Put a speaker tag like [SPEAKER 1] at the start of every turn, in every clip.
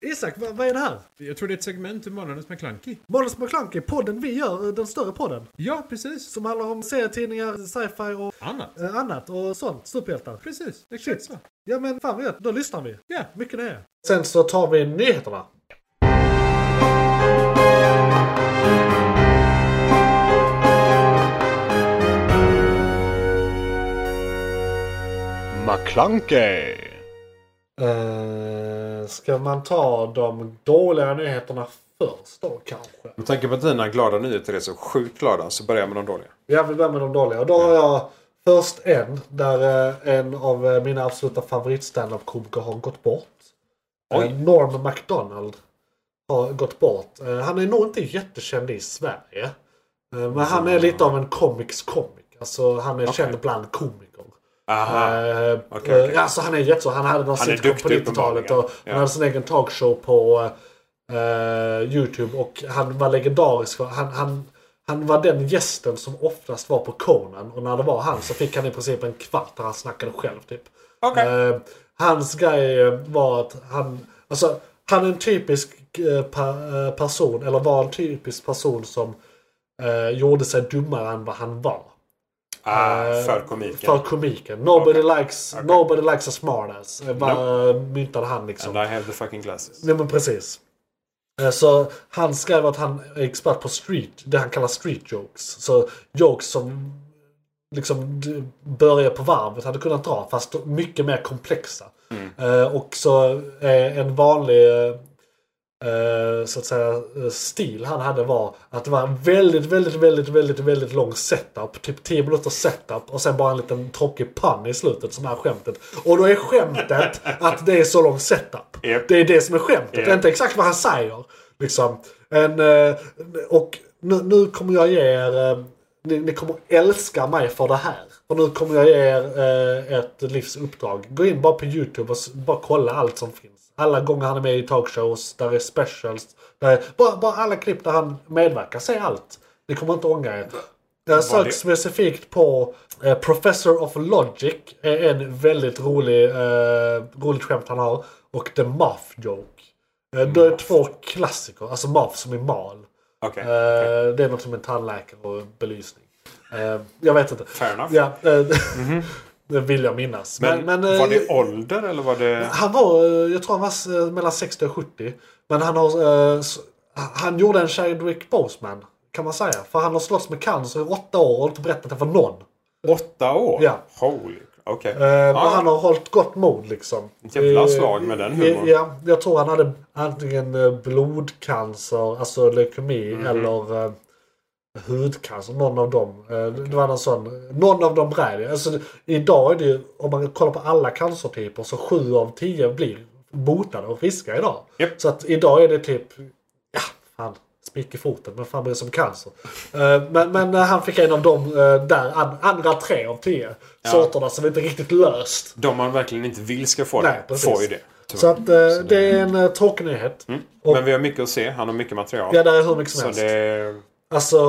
[SPEAKER 1] Isak, vad, vad är det här?
[SPEAKER 2] Jag tror det är ett segment ur Månadens McKlunky.
[SPEAKER 1] Månadens McKlunky, podden vi gör, eh, den större podden.
[SPEAKER 2] Ja, precis.
[SPEAKER 1] Som handlar om serietidningar, sci-fi och
[SPEAKER 2] Annat.
[SPEAKER 1] eh, annat och sånt. Superhjältar.
[SPEAKER 2] Precis, exakt så.
[SPEAKER 1] Ja men fan vad gött, då lyssnar vi.
[SPEAKER 2] Ja.
[SPEAKER 1] Mycket nöje. Sen så tar vi nyheterna.
[SPEAKER 3] McClunkey!
[SPEAKER 1] Uh, ska man ta de dåliga nyheterna först då kanske?
[SPEAKER 3] Med tanke på att dina glada nyheter är så sjukt glada så börjar jag med de dåliga.
[SPEAKER 1] Jag vill börja med de dåliga. Och då har jag först en där eh, en av eh, mina absoluta favoritstandup-komiker har gått bort.
[SPEAKER 3] Oj.
[SPEAKER 1] Eh, Norm MacDonald har gått bort. Eh, Han är nog inte jättekänd i Sverige. Eh, Men han är lite av en comics comic. Alltså han är känd bland komiker.
[SPEAKER 3] Aha.
[SPEAKER 1] Eh,
[SPEAKER 3] Okej, okej.
[SPEAKER 1] eh, Alltså han är jätteså. Han hade någon
[SPEAKER 3] Han är
[SPEAKER 1] sitcom på
[SPEAKER 3] duktig
[SPEAKER 1] 90-talet och
[SPEAKER 3] uppenbarligen.
[SPEAKER 1] han
[SPEAKER 3] Ja.
[SPEAKER 1] hade sin egen talkshow på eh, Youtube och han var legendarisk. för Han, han, han var den gästen som oftast var på Conan och när det var han så fick han i princip en kvart där han snackade själv typ.
[SPEAKER 3] Okej.
[SPEAKER 1] Eh, hans grej eh, var att han, alltså han är en typisk eh, per- eh, person, eller var en typisk person som eh, gjorde sig dummare än vad han var.
[SPEAKER 3] Ah,
[SPEAKER 1] Eh,
[SPEAKER 3] för komiken.
[SPEAKER 1] För komiken. Nobody, likes,
[SPEAKER 3] Okej.
[SPEAKER 1] nobody likes a smartass. eh, Var, Myntade han liksom.
[SPEAKER 3] And I have the fucking glasses.
[SPEAKER 1] Nej men precis. Eh, Så han skrev att han är expert på street, det han kallar street jokes. Så jokes som liksom d- börjar på varvet hade kunnat dra fast mycket mer komplexa. Eh, och så eh, en vanlig eh, eh, så att säga eh, stil han hade var att det var en väldigt, väldigt, väldigt, väldigt, väldigt lång setup. Typ 10 minuters setup och sen bara en liten tråkig pann i slutet som är skämtet. Och då är skämtet att det är så lång setup.
[SPEAKER 3] Japp.
[SPEAKER 1] Det är det som är skämtet,
[SPEAKER 3] Japp.
[SPEAKER 1] inte exakt vad han säger. Liksom. En, eh, och nu, nu kommer jag ge er, eh, ni, ni kommer älska mig för det här. Och nu kommer jag ge er eh, ett livsuppdrag. Gå in bara på YouTube och s- bara kolla allt som finns. Alla gånger han är med i talkshows, där är specials. Där är, bara, bara alla klipp där han medverkar, se allt. Ni kommer inte ångra er. Jag sök
[SPEAKER 3] det-
[SPEAKER 1] specifikt på eh, Professor of Logic. Är en väldigt rolig, eh, roligt skämt han har. Och The Muff Joke. Eh, det är två klassiker. Alltså Muff som är mal.
[SPEAKER 3] Mm. Okej.
[SPEAKER 1] Eh, Det är något som en tandläkare och belysning. Eh, jag vet inte.
[SPEAKER 3] Fair enough. Mhm.
[SPEAKER 1] Ja, eh, Det vill jag minnas.
[SPEAKER 3] Men,
[SPEAKER 1] eh,
[SPEAKER 3] var det ålder eller var det...
[SPEAKER 1] han var, eh, jag tror han var eh, mellan 60 och 70. Men han har... eh, s- Han gjorde en Chadwick Boseman. Kan man säga. För han har slåss med cancer i åtta år och inte berättat det för någon.
[SPEAKER 3] Åtta år?
[SPEAKER 1] Ja.
[SPEAKER 3] Holy... Okej.
[SPEAKER 1] Eh, Men
[SPEAKER 3] Ja,
[SPEAKER 1] han har hållit gott mod liksom.
[SPEAKER 3] Jävla
[SPEAKER 1] Eh,
[SPEAKER 3] slag med den
[SPEAKER 1] eh,
[SPEAKER 3] humorn.
[SPEAKER 1] Ja, jag tror han hade antingen eh, blodcancer, alltså leukemi,
[SPEAKER 3] Mhm.
[SPEAKER 1] eller eh, hudcancer. Någon av dem. Eh, Det var någon sån. Någon av dem bräd. Alltså, idag är det ju, om man kollar på alla cancertyper, så sju av tio blir botade och friska idag.
[SPEAKER 3] Japp.
[SPEAKER 1] Så att idag är det typ, ja, fan. Spik i foten, men fan bryr sig om cancer? Eh, Men, men eh, han fick en av de eh, där an- andra tre av tio sorterna som inte riktigt löst.
[SPEAKER 3] De man verkligen inte vill ska få
[SPEAKER 1] Nej,
[SPEAKER 3] det,
[SPEAKER 1] precis.
[SPEAKER 3] får ju det. tyvärr.
[SPEAKER 1] Så att eh, det är en eh, tråkig nyhet. Och,
[SPEAKER 3] Mm. Men vi har mycket att se. Han har mycket material.
[SPEAKER 1] ja, där är hur mycket som
[SPEAKER 3] så
[SPEAKER 1] helst.
[SPEAKER 3] det...
[SPEAKER 1] Alltså,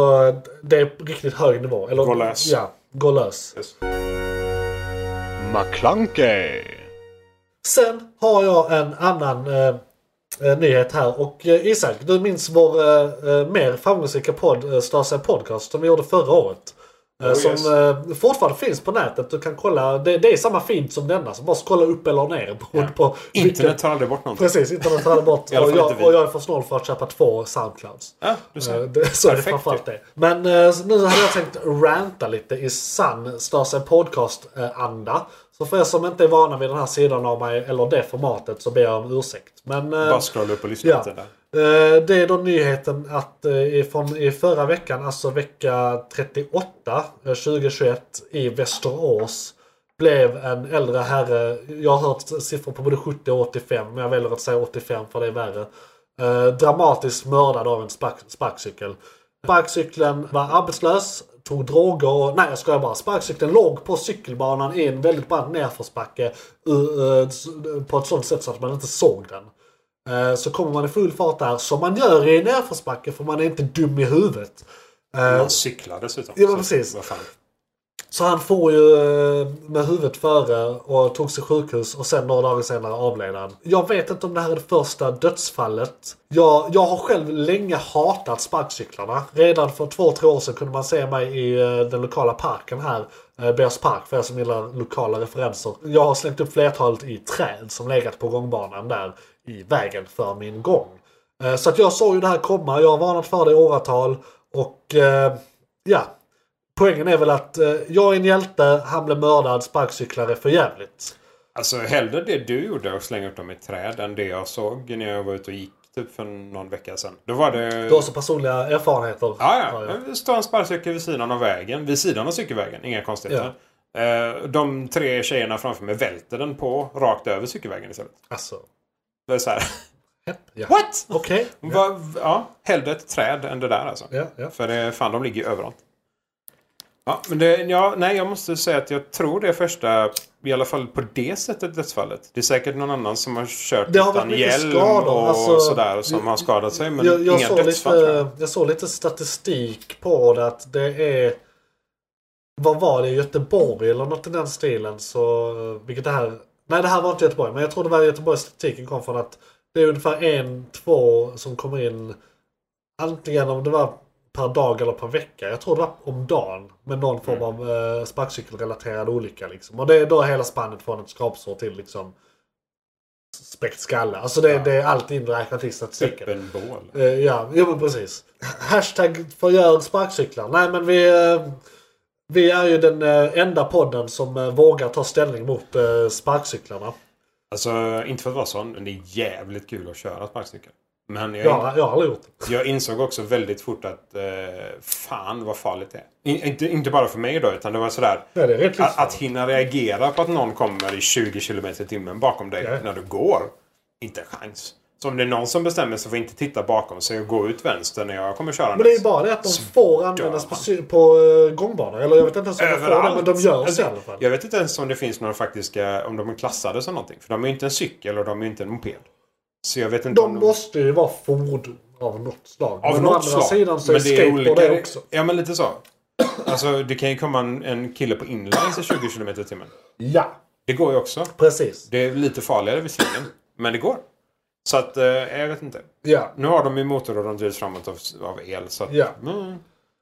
[SPEAKER 1] det är riktigt hög nivå. Eller,
[SPEAKER 3] Gå lös.
[SPEAKER 1] Ja, gå lös.
[SPEAKER 3] McClunkey!
[SPEAKER 1] Sen har jag en annan eh, eh, nyhet här. Och eh, Isak, du minns vår eh, eh, mer framgångsrika podd, eh, Stasia Podcast, som vi gjorde förra året. Eh,
[SPEAKER 3] Oh,
[SPEAKER 1] som
[SPEAKER 3] yes.
[SPEAKER 1] eh, fortfarande finns på nätet. Du kan kolla. Det, det är samma feed som denna. Så bara scrolla upp eller ner. beroende på vilken-
[SPEAKER 3] Internet tar aldrig bort någonting.
[SPEAKER 1] Precis, internet faller bort.
[SPEAKER 3] I alla
[SPEAKER 1] och,
[SPEAKER 3] fall
[SPEAKER 1] jag,
[SPEAKER 3] inte vi.
[SPEAKER 1] och jag är för snål för att köpa två Soundclouds.
[SPEAKER 3] Ja, du
[SPEAKER 1] Eh,
[SPEAKER 3] ser.
[SPEAKER 1] det- Så är det
[SPEAKER 3] Perfekt,
[SPEAKER 1] framförallt det. Men eh, så nu hade jag tänkt ranta lite i sann Störsen Podcast-anda. Så för er som inte är vana vid den här sidan av mig eller det formatet så ber jag om ursäkt. Men, eh,
[SPEAKER 3] Bara scrolla upp och lyssna
[SPEAKER 1] ja.
[SPEAKER 3] lite där.
[SPEAKER 1] Eh, Det är då nyheten att eh, ifrån i förra veckan, alltså vecka 38, eh, 2021 i Västerås blev en äldre herre, jag har hört siffror på både 70 och 85, men jag väljer att säga 85 för det är värre. Eh, dramatiskt mördad av en spark, sparkcykel. Sparkcykeln var arbetslös, tog droger och... Nej jag skojar bara. Sparkcykeln låg på cykelbanan i en väldigt brant nedförsbacke. ur- eh, s- På ett sånt sätt så att man inte såg den. Eh, Så kommer man i full fart där, som man gör i en nedförsbacke för man är inte dum i huvudet. Eh,
[SPEAKER 3] Man cyklar dessutom.
[SPEAKER 1] Ja, men
[SPEAKER 3] Så,
[SPEAKER 1] precis.
[SPEAKER 3] Vad fan.
[SPEAKER 1] Så han får ju eh, med huvudet före och tog sig sjukhus och sen några dagar senare avled han. Jag vet inte om det här är det första dödsfallet. Jag, jag har själv länge hatat sparkcyklarna. Redan för två, tre år sedan kunde man se mig i eh, den lokala parken här. eh, Bears Park för er som gillar lokala referenser. Jag har slängt upp flertalet i träd som legat på gångbanan där i vägen för min gång. Eh, Så att jag såg ju det här komma. Jag har varnat för det i åratal. Och eh, ja, Poängen är väl att eh, jag är en hjälte, han blev mördad, sparkcyklar är för jävligt.
[SPEAKER 3] Alltså hellre det du gjorde och slänga upp dem i träd än det jag såg när jag var ute och gick typ för någon vecka sedan. Då var det...
[SPEAKER 1] Du har också personliga erfarenheter.
[SPEAKER 3] Ja,
[SPEAKER 1] har
[SPEAKER 3] ja.
[SPEAKER 1] jag.
[SPEAKER 3] Det står en sparkcykel vid sidan av vägen. Vid sidan av cykelvägen. Inga konstigheter. Eh, De tre tjejerna framför mig välter den på rakt över cykelvägen istället.
[SPEAKER 1] Alltså,
[SPEAKER 3] Det är så här.
[SPEAKER 1] ja.
[SPEAKER 3] What?
[SPEAKER 1] Okej.
[SPEAKER 3] Va, ja, hellre ett träd än det där alltså.
[SPEAKER 1] Ja, ja.
[SPEAKER 3] För det, fan, de ligger ju överallt. Ja, men det, ja, nej, jag måste säga att jag tror det är första, i alla fall på det sättet, dödsfallet. Det är säkert någon annan som har kört
[SPEAKER 1] Det har varit
[SPEAKER 3] utan
[SPEAKER 1] mycket
[SPEAKER 3] hjälm
[SPEAKER 1] skador,
[SPEAKER 3] och
[SPEAKER 1] alltså,
[SPEAKER 3] sådär som
[SPEAKER 1] jag-
[SPEAKER 3] har skadat sig. Men
[SPEAKER 1] jag, jag,
[SPEAKER 3] inga
[SPEAKER 1] såg
[SPEAKER 3] dödsfall tror jag.
[SPEAKER 1] lite, eh, jag såg lite statistik på det att det är... Vad var det? Göteborg eller något i den stilen. Så, eh, vilket det här... Nej, det här var inte Göteborg. Men jag tror det var Göteborg statistiken kom från att det är ungefär en, två som kommer in. Antingen om det var per dag eller per vecka. Jag tror det var om dagen. Med någon form
[SPEAKER 3] Mm.
[SPEAKER 1] av eh, sparkcykelrelaterad olycka. Liksom. Och det är då hela spannet från ett skrapsår till liksom spräckt skalle. Alltså det, det är allt inräknat i statistiken.
[SPEAKER 3] Öppen Typ bål.
[SPEAKER 1] Eh, ja, ja men precis. Hashtag förgör sparkcyklar. Nej men vi, eh, vi är ju den eh, enda podden som eh, vågar ta ställning mot eh, sparkcyklarna.
[SPEAKER 3] Alltså, inte för att vara sån, men det är jävligt kul att köra sparkcykel. Men jag,
[SPEAKER 1] Jag, jag har aldrig gjort det.
[SPEAKER 3] jag insåg också väldigt fort att eh, fan vad farligt det är. In, inte, inte bara för mig då, utan det var sådär.
[SPEAKER 1] Nej, det är rätt
[SPEAKER 3] Att,
[SPEAKER 1] livsfarligt.
[SPEAKER 3] att hinna reagera på att någon kommer i 20 km i timmen bakom dig
[SPEAKER 1] Ja.
[SPEAKER 3] när du går. Inte en chans. Så om det är någon som bestämmer sig för att inte titta bakom sig och gå ut vänster när jag kommer köra
[SPEAKER 1] Men det är ju bara det att de får användas på, sy- på eh, gångbanor. Eller jag vet inte ens om de får det, men de gör så
[SPEAKER 3] Alltså,
[SPEAKER 1] i alla fall.
[SPEAKER 3] Jag vet inte ens om det finns några faktiska, om de är klassade som någonting. För de är ju inte en cykel och de är ju inte en moped. Så jag vet inte
[SPEAKER 1] De
[SPEAKER 3] om
[SPEAKER 1] måste ju vara fordon av något slag.
[SPEAKER 3] Av
[SPEAKER 1] men å
[SPEAKER 3] något
[SPEAKER 1] andra
[SPEAKER 3] slag.
[SPEAKER 1] sidan så är
[SPEAKER 3] Men det
[SPEAKER 1] skateboard
[SPEAKER 3] olika-
[SPEAKER 1] det också.
[SPEAKER 3] Ja, men lite så. Alltså, det kan ju komma en, en kille på inlines i 20 km i timmen.
[SPEAKER 1] Ja,
[SPEAKER 3] Det går ju också.
[SPEAKER 1] precis.
[SPEAKER 3] Det är lite farligare visserligen, men det går. Så att, eh, jag vet inte.
[SPEAKER 1] Ja.
[SPEAKER 3] Nu har de ju motor och de drivs framåt av, av el. Så att,
[SPEAKER 1] Ja.
[SPEAKER 3] mm,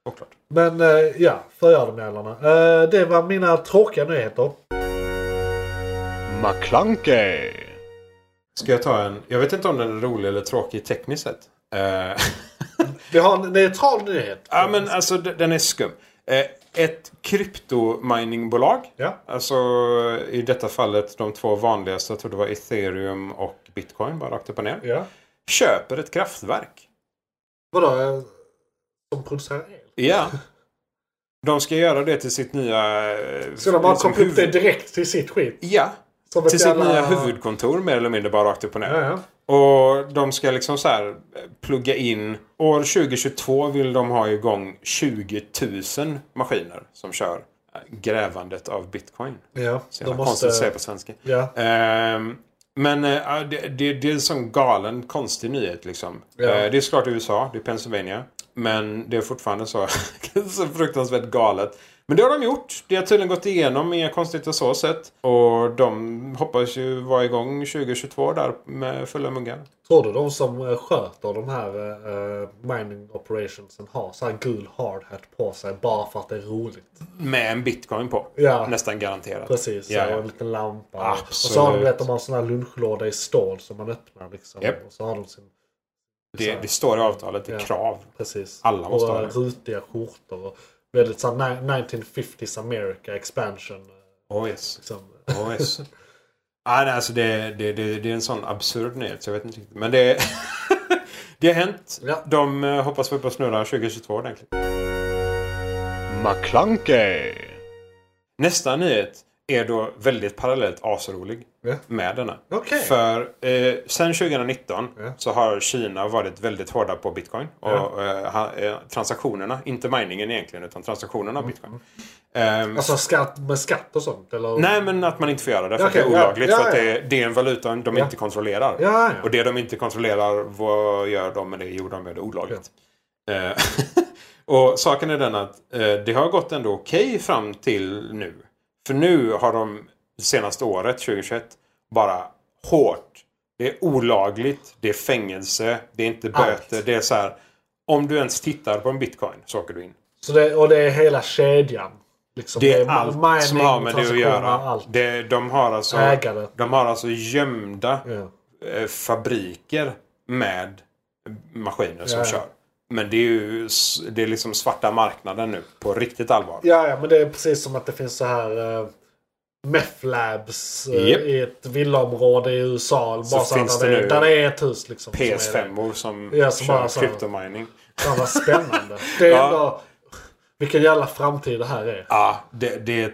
[SPEAKER 3] och klart.
[SPEAKER 1] Men eh, ja, förgör dem jävlarna. Eh, det var mina tråkiga nyheter.
[SPEAKER 4] McClunkey.
[SPEAKER 3] Ska jag ta en? Jag vet inte om den är rolig eller tråkig tekniskt sett. Eh,
[SPEAKER 1] Vi har en neutral nyhet.
[SPEAKER 3] ja, men alltså d- den är skum. Eh, ett kryptominingbolag.
[SPEAKER 1] Ja.
[SPEAKER 3] Alltså i detta fallet de två vanligaste. Jag tror det var ethereum och bitcoin. Bara rakt upp och ner.
[SPEAKER 1] ja.
[SPEAKER 3] Köper ett kraftverk.
[SPEAKER 1] Vadå? eh, Som producerar el?
[SPEAKER 3] Ja. De ska göra det till sitt nya... eh,
[SPEAKER 1] Ska de bara
[SPEAKER 3] liksom
[SPEAKER 1] koppla upp det
[SPEAKER 3] huvud-
[SPEAKER 1] direkt till sitt skit?
[SPEAKER 3] Ja.
[SPEAKER 1] Som ett
[SPEAKER 3] Till sitt
[SPEAKER 1] jävla-
[SPEAKER 3] nya huvudkontor mer eller mindre bara rakt upp och ner.
[SPEAKER 1] Ja, ja.
[SPEAKER 3] Och de ska liksom så här eh, plugga in. År 2022 vill de ha igång 20 000 maskiner som kör eh, grävandet av bitcoin.
[SPEAKER 1] ja.
[SPEAKER 3] Så
[SPEAKER 1] De
[SPEAKER 3] jävla konstigt att säga
[SPEAKER 1] måste...
[SPEAKER 3] på svenska.
[SPEAKER 1] Ja.
[SPEAKER 3] Ehm, men eh, ja, det, det, det är en sån galen konstig nyhet liksom.
[SPEAKER 1] Ja.
[SPEAKER 3] Eh, det är såklart i USA, det är Pennsylvania. Men det är fortfarande så, så fruktansvärt galet. Men det har de gjort. Det har tydligen gått igenom, inga konstigheter så sett. Och de hoppas ju vara igång 2022 där med fulla muggar.
[SPEAKER 1] Tror du de som eh, sköter de här eh, mining operationsen har så här gul hard hat på sig bara för att det är roligt?
[SPEAKER 3] Med en bitcoin på.
[SPEAKER 1] Ja.
[SPEAKER 3] Nästan garanterat.
[SPEAKER 1] Precis,
[SPEAKER 3] Ja,
[SPEAKER 1] så
[SPEAKER 3] ja.
[SPEAKER 1] en liten lampa. Och
[SPEAKER 3] Absolut.
[SPEAKER 1] så har de, vet, de har en sån här lunchlåda i stål som man öppnar liksom.
[SPEAKER 3] Japp.
[SPEAKER 1] Och så har de sin...
[SPEAKER 3] Det, det står i avtalet, det är
[SPEAKER 1] Ja.
[SPEAKER 3] krav.
[SPEAKER 1] Precis.
[SPEAKER 3] Alla måste
[SPEAKER 1] och
[SPEAKER 3] ha
[SPEAKER 1] eh,
[SPEAKER 3] det.
[SPEAKER 1] rutiga skjortor. Och väldigt så här ni- 1950s America expansion. eh,
[SPEAKER 3] Oh yes.
[SPEAKER 1] Liksom.
[SPEAKER 3] Oh yes. ah, nej, alltså det, det, det, det är en sån absurd nyhet så jag vet inte riktigt. Men det, det har hänt.
[SPEAKER 1] Ja.
[SPEAKER 3] De eh, hoppas få upp och snurra 2022 ordentligt.
[SPEAKER 4] McClunkey.
[SPEAKER 3] Nästa nyhet är då väldigt parallellt asrolig
[SPEAKER 1] Ja.
[SPEAKER 3] med denna.
[SPEAKER 1] Okej.
[SPEAKER 3] För eh, sen 2019
[SPEAKER 1] Ja.
[SPEAKER 3] så har Kina varit väldigt hårda på bitcoin. Och
[SPEAKER 1] Ja.
[SPEAKER 3] eh, ha, eh, transaktionerna, inte miningen egentligen utan transaktionerna
[SPEAKER 1] Mm.
[SPEAKER 3] av bitcoin. Ehm,
[SPEAKER 1] Alltså skatt, med skatt och sånt? Eller?
[SPEAKER 3] Nej, men att man inte får göra det för
[SPEAKER 1] Okej,
[SPEAKER 3] att det är
[SPEAKER 1] ja.
[SPEAKER 3] olagligt.
[SPEAKER 1] Ja,
[SPEAKER 3] för att
[SPEAKER 1] ja.
[SPEAKER 3] det, är, det är en valuta de
[SPEAKER 1] Ja.
[SPEAKER 3] inte kontrollerar.
[SPEAKER 1] Ja, ja.
[SPEAKER 3] Och det de inte kontrollerar, vad gör de med det? Jo, de gör det olagligt. Eh, Och saken är den att eh, det har gått ändå okej fram till nu. För nu har de det senaste året, 2021, bara hårt. Det är olagligt, det är fängelse, det är inte
[SPEAKER 1] Allt.
[SPEAKER 3] böter. Det är så här, om du ens tittar på en bitcoin så åker du in.
[SPEAKER 1] Så det, och det är hela kedjan. Liksom,
[SPEAKER 3] Det är
[SPEAKER 1] ma-
[SPEAKER 3] allt som
[SPEAKER 1] mining,
[SPEAKER 3] har med det att
[SPEAKER 1] transaktioner,
[SPEAKER 3] göra.
[SPEAKER 1] Allt.
[SPEAKER 3] Det, de, har alltså,
[SPEAKER 1] Ägare.
[SPEAKER 3] de har alltså gömda
[SPEAKER 1] Ja.
[SPEAKER 3] eh, fabriker med maskiner som
[SPEAKER 1] Ja, ja.
[SPEAKER 3] kör. Men det är ju s- det är liksom svarta marknaden nu på riktigt allvar.
[SPEAKER 1] Ja, ja, men det är precis som att det finns så här uh, meth labs eh,
[SPEAKER 3] Japp.
[SPEAKER 1] i ett villaområde i USA.
[SPEAKER 3] Så
[SPEAKER 1] bara så
[SPEAKER 3] finns
[SPEAKER 1] finns där,
[SPEAKER 3] det
[SPEAKER 1] det
[SPEAKER 3] nu
[SPEAKER 1] där det är ett hus liksom. som är det.
[SPEAKER 3] PS5 or som
[SPEAKER 1] Ja, som
[SPEAKER 3] kör
[SPEAKER 1] bara så här-
[SPEAKER 3] kryptomining.
[SPEAKER 1] Fan vad spännande. Det är
[SPEAKER 3] Ja.
[SPEAKER 1] ändå... Vilken jävla framtid det här är.
[SPEAKER 3] Ja, det, det, det, är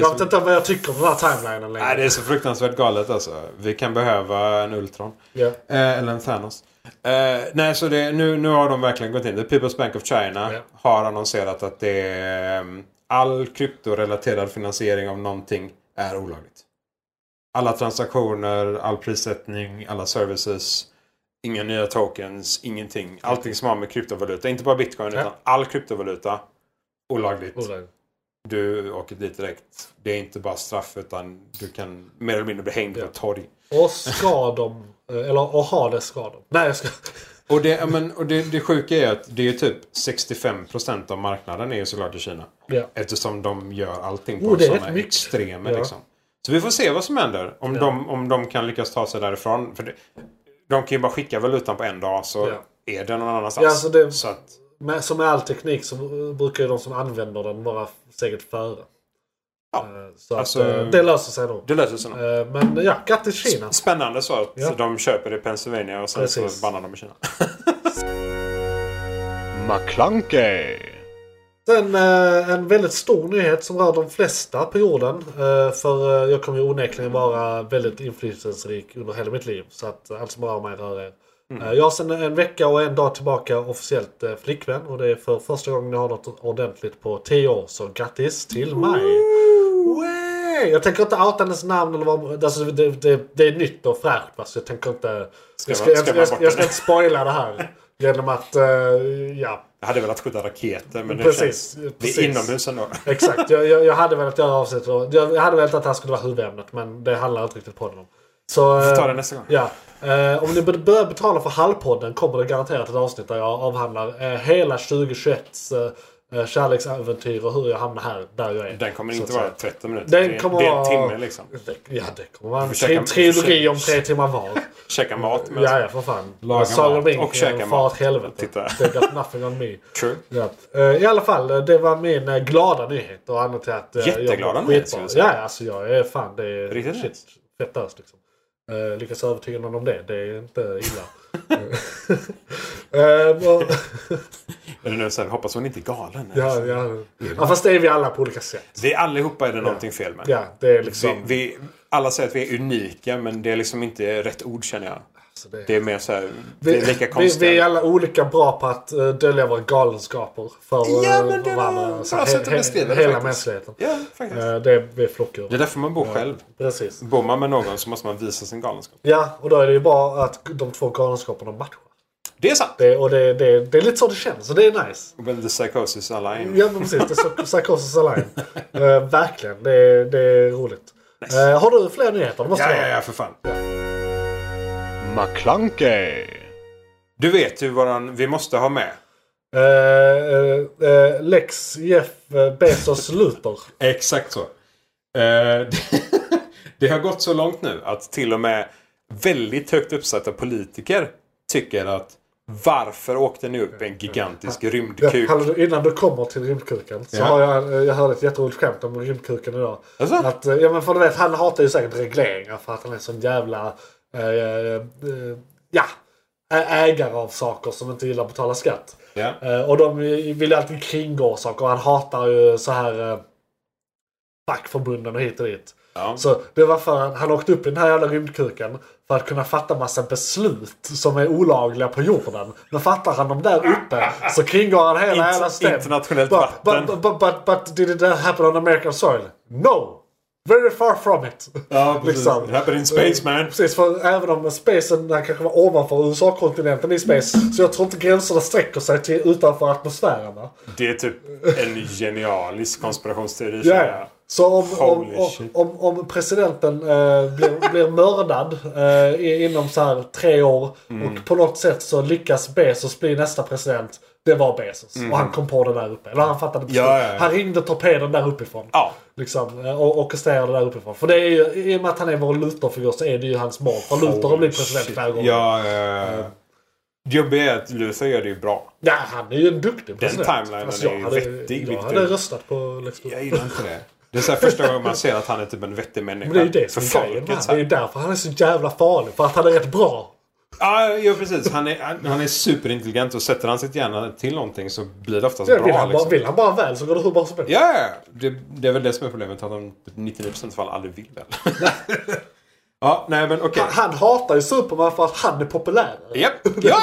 [SPEAKER 1] Jag vet
[SPEAKER 3] så,
[SPEAKER 1] inte vad jag tycker om den här timelinen längre.
[SPEAKER 3] nej, det är så fruktansvärt galet alltså. Vi kan behöva en Ultron.
[SPEAKER 1] Ja.
[SPEAKER 3] Eh, eller en Thanos. Eh, nej, så det, nu, nu har de verkligen gått in. The People's Bank of China
[SPEAKER 1] Ja.
[SPEAKER 3] har annonserat att det är, eh, all kryptorelaterad finansiering av någonting är olagligt. Alla transaktioner, all prissättning, alla services. Inga nya tokens, ingenting. Allting som har med kryptovaluta, inte bara bitcoin
[SPEAKER 1] Ja.
[SPEAKER 3] utan all kryptovaluta. Olagligt.
[SPEAKER 1] Olagligt.
[SPEAKER 3] Du åker dit direkt. Det är inte bara straff utan du kan mer eller mindre bli hängd på
[SPEAKER 1] Ja.
[SPEAKER 3] ett torg.
[SPEAKER 1] Och ska de... eh, Eller och ha det ska de. Nej, jag ska...
[SPEAKER 3] Och, det, ja, men, och det, det sjuka är att det är ju typ 65% av marknaden är ju såklart i Kina.
[SPEAKER 1] Ja.
[SPEAKER 3] Eftersom de gör allting på
[SPEAKER 1] Oh, det är
[SPEAKER 3] sådana
[SPEAKER 1] rätt mycket.
[SPEAKER 3] extremer.
[SPEAKER 1] Ja.
[SPEAKER 3] Liksom. Så vi får se vad som händer. Om, de, om de kan lyckas ta sig därifrån. För det, de kan ju bara skicka valutan på en dag så
[SPEAKER 1] Ja.
[SPEAKER 3] är den någon annanstans.
[SPEAKER 1] Ja, så det-
[SPEAKER 3] så att,
[SPEAKER 1] Men som med all teknik så eh, brukar ju de som använder den vara steget före.
[SPEAKER 3] Ja.
[SPEAKER 1] Eh, Så att,
[SPEAKER 3] Alltså-
[SPEAKER 1] eh, det löser sig nog.
[SPEAKER 3] det löser sig nog.
[SPEAKER 1] Eh, Men ja, grattis Kina.
[SPEAKER 3] Spännande så att
[SPEAKER 1] Ja.
[SPEAKER 3] de köper i Pennsylvania och sen
[SPEAKER 1] Precis.
[SPEAKER 3] så bannar de i Kina.
[SPEAKER 4] McClunkey.
[SPEAKER 1] Sen eh, en väldigt stor nyhet som rör de flesta på jorden. Eh, för eh, jag kommer ju onekligen vara väldigt inflytelserik under hela mitt liv. Så att eh, allt som rör mig rör er.
[SPEAKER 3] Mm.
[SPEAKER 1] Eh, jag har sedan en vecka och en dag tillbaka officiellt eh, flickvän. Och det är för första gången jag har något ordentligt på 10 år. Så grattis till mig! Way! Jag tänker inte outa hennes namn eller vad alltså, det, det, det är nytt och fräscht. va, Så jag tänker inte... Jag ska,
[SPEAKER 3] man-
[SPEAKER 1] jag,
[SPEAKER 3] ska man
[SPEAKER 1] jag,
[SPEAKER 3] bort
[SPEAKER 1] jag ska
[SPEAKER 3] det?
[SPEAKER 1] inte spoila det här. Genom att... eh, ja,
[SPEAKER 3] Jag hade velat skjuta raketer men det
[SPEAKER 1] Precis,
[SPEAKER 3] känns...
[SPEAKER 1] precis.
[SPEAKER 3] Det är inomhus ändå.
[SPEAKER 1] Exakt, jag, jag, jag hade velat göra avsnittet. och- Jag hade velat att det här skulle vara huvudämnet men det handlar inte riktigt podden om. Så,
[SPEAKER 3] Vi tar
[SPEAKER 1] eh,
[SPEAKER 3] det nästa gång.
[SPEAKER 1] Ja. Eh, om ni bör- börjar betala för halvpodden kommer det garanterat ett avsnitt där jag avhandlar eh, hela 2021s eh, eh, kärleksäventyr och hur jag hamnar här, där jag är.
[SPEAKER 3] Den kommer
[SPEAKER 1] Så
[SPEAKER 3] inte
[SPEAKER 1] att
[SPEAKER 3] vara
[SPEAKER 1] säga.
[SPEAKER 3] 30 minuter.
[SPEAKER 1] Den
[SPEAKER 3] det, är-
[SPEAKER 1] kommer
[SPEAKER 3] det är
[SPEAKER 1] vara-
[SPEAKER 3] en timme liksom.
[SPEAKER 1] Det- Ja, det kommer vara en
[SPEAKER 3] Försöka-
[SPEAKER 1] tri- trilogi
[SPEAKER 3] försöka-
[SPEAKER 1] om tre timmar var.
[SPEAKER 3] Käka mat med...
[SPEAKER 1] Ja, ja, för fan.
[SPEAKER 3] Laga
[SPEAKER 1] Sagan
[SPEAKER 3] mat
[SPEAKER 1] om ringen,
[SPEAKER 3] och käka
[SPEAKER 1] far
[SPEAKER 3] mat.
[SPEAKER 1] åt helvete.
[SPEAKER 3] Titta.
[SPEAKER 1] They got nothing on me.
[SPEAKER 3] True.
[SPEAKER 1] Ja. Eh, I alla fall, eh, det var min eh, glada nyhet. Och anledningen till att, eh,
[SPEAKER 3] Jätteglada
[SPEAKER 1] jag mår
[SPEAKER 3] nyhet,
[SPEAKER 1] skitbra.
[SPEAKER 3] skulle jag
[SPEAKER 1] Ja,
[SPEAKER 3] säga.
[SPEAKER 1] ja, alltså jag är fan. Det är
[SPEAKER 3] Riktigt
[SPEAKER 1] shit, fett ös liksom. Uh, lyckas övertyga någon om det. Det är inte illa. Eh, och,
[SPEAKER 3] Är det nu så här, hoppas hon inte är galen.
[SPEAKER 1] ja, ja. ja, fast det är vi alla på olika sätt.
[SPEAKER 3] Vi allihopa är det någonting fel med.
[SPEAKER 1] Ja, det är
[SPEAKER 3] Vi,
[SPEAKER 1] liksom...
[SPEAKER 3] vi, alla säger att vi är unika men det är liksom inte rätt ord känner jag.
[SPEAKER 1] alltså, det är-
[SPEAKER 3] Det är mer så här, vi,
[SPEAKER 1] vi,
[SPEAKER 3] är lika
[SPEAKER 1] vi,
[SPEAKER 3] konstiga.
[SPEAKER 1] vi är alla olika bra på att eh, dölja våra galenskaper för eh,
[SPEAKER 3] Ja, men det var
[SPEAKER 1] varandra.
[SPEAKER 3] ett
[SPEAKER 1] Så
[SPEAKER 3] bra
[SPEAKER 1] he-
[SPEAKER 3] sätt att
[SPEAKER 1] he-
[SPEAKER 3] beskriva det
[SPEAKER 1] Hela
[SPEAKER 3] faktiskt.
[SPEAKER 1] mänskligheten.
[SPEAKER 3] Ja, faktiskt.
[SPEAKER 1] Eh, det är, vi är flockdjur.
[SPEAKER 3] Det är därför man bor själv.
[SPEAKER 1] Precis.
[SPEAKER 3] Bor man med någon så måste man visa sin galenskap.
[SPEAKER 1] Ja, och då är det ju bra att de två galenskaperna matchar.
[SPEAKER 3] Det är sant!
[SPEAKER 1] Det, och det, det, det är lite så det känns, så det är nice.
[SPEAKER 3] When the psychosis align.
[SPEAKER 1] Ja, men precis. Det är så- Psychosis Align. Eh, verkligen, det, är- det är roligt. Eh, har du fler nyheter? Det måste
[SPEAKER 3] Ja,
[SPEAKER 1] jag
[SPEAKER 3] ja,
[SPEAKER 1] ha.
[SPEAKER 3] ja, för fan.
[SPEAKER 4] McClunkey. Du
[SPEAKER 3] Vet du vad han- vi måste ha med?
[SPEAKER 1] Eh, eh, eh, Lex Jeff eh, Bezos Luther.
[SPEAKER 3] Exakt så. Eh, det, det har gått så långt nu att till och med väldigt högt uppsatta politiker tycker att varför åkte ni upp i en gigantisk rymdkuk?
[SPEAKER 1] Ja, hallå, innan du kommer till rymdkuken så
[SPEAKER 3] Ja.
[SPEAKER 1] har jag, jag hörde ett jätteroligt skämt om rymdkuken idag.
[SPEAKER 3] Jaså?
[SPEAKER 1] Att, eh, ja, men för du vet, han hatar ju säkert regleringar för att han är sån jävla eh, eh, ja, ä- ägare av saker som inte gillar att betala skatt.
[SPEAKER 3] Ja.
[SPEAKER 1] Eh, och de vill ju alltid kringgå saker och han hatar ju så här eh, fackförbunden och hit och dit.
[SPEAKER 3] Ja.
[SPEAKER 1] Så det var för att han åkte upp i den här jävla rymdkuken för att kunna fatta massa beslut som är olagliga på jorden. Men fattar han dem där uppe så kringgår han hela
[SPEAKER 3] Int-
[SPEAKER 1] jävla stäm.
[SPEAKER 3] internationellt
[SPEAKER 1] Bara,
[SPEAKER 3] vatten.
[SPEAKER 1] uh, But, but, but, but did it happen on American soil? No! Very far from it.
[SPEAKER 3] Ja, precis.
[SPEAKER 1] Liksom.
[SPEAKER 3] It happened in space, man.
[SPEAKER 1] Precis, för även om spacen där kanske var ovanför USA-kontinenten i space. Så jag tror inte gränserna sträcker sig till utanför atmosfären. Va?
[SPEAKER 3] Det är typ en genialisk konspirationsteori.
[SPEAKER 1] Ja,
[SPEAKER 3] känner
[SPEAKER 1] ja.
[SPEAKER 3] jag.
[SPEAKER 1] Så om, om,
[SPEAKER 3] Holy
[SPEAKER 1] om,
[SPEAKER 3] shit.
[SPEAKER 1] om, om presidenten eh, blir, blir mördad eh, i- inom så här tre år
[SPEAKER 3] Mm.
[SPEAKER 1] och på något sätt så lyckas Bezos bli nästa president. Det var Bezos och han kom på det där uppe. Eller han fattade beslut.
[SPEAKER 3] Mm. Ja, ja, ja.
[SPEAKER 1] Han ringde torpeden där uppifrån.
[SPEAKER 3] Ja.
[SPEAKER 1] Liksom, eh, och orkestrerade där uppifrån. För det är ju, i och med att han är vår Luther-figur så är det ju hans mål. För Luther har blivit president flera gånger.
[SPEAKER 3] Ja, ja, ja. Det jobbiga är att Luther gör det ju bra.
[SPEAKER 1] Ja, han är ju en duktig president. Alltså,
[SPEAKER 3] timelinen är ju
[SPEAKER 1] hade,
[SPEAKER 3] vettig,
[SPEAKER 1] Jag
[SPEAKER 3] Victor.
[SPEAKER 1] hade röstat på Lex Luthor.
[SPEAKER 3] Jag gillar inte det. Det är så här första gången man ser att han är typ en vettig människa.
[SPEAKER 1] Men det är ju det
[SPEAKER 3] För
[SPEAKER 1] som är grejen. med
[SPEAKER 3] folket.
[SPEAKER 1] han.
[SPEAKER 3] så
[SPEAKER 1] Det är
[SPEAKER 3] här.
[SPEAKER 1] ju därför han är så jävla farlig. För att han är rätt bra.
[SPEAKER 3] Ja, ja, precis. Han är, han- han är superintelligent och sätter han sitt hjärna till någonting så blir det oftast
[SPEAKER 1] Det vill,
[SPEAKER 3] bra.
[SPEAKER 1] han bara,
[SPEAKER 3] Liksom.
[SPEAKER 1] vill han bara väl så går det hur bra som helst.
[SPEAKER 3] Ja, ja, ja. det, det är väl det som är problemet. Att han typ i 99% fall aldrig vill väl. ja, nej men okej.
[SPEAKER 1] Han, han hatar ju Superman för att han är populär.
[SPEAKER 3] Japp. Ja, ja,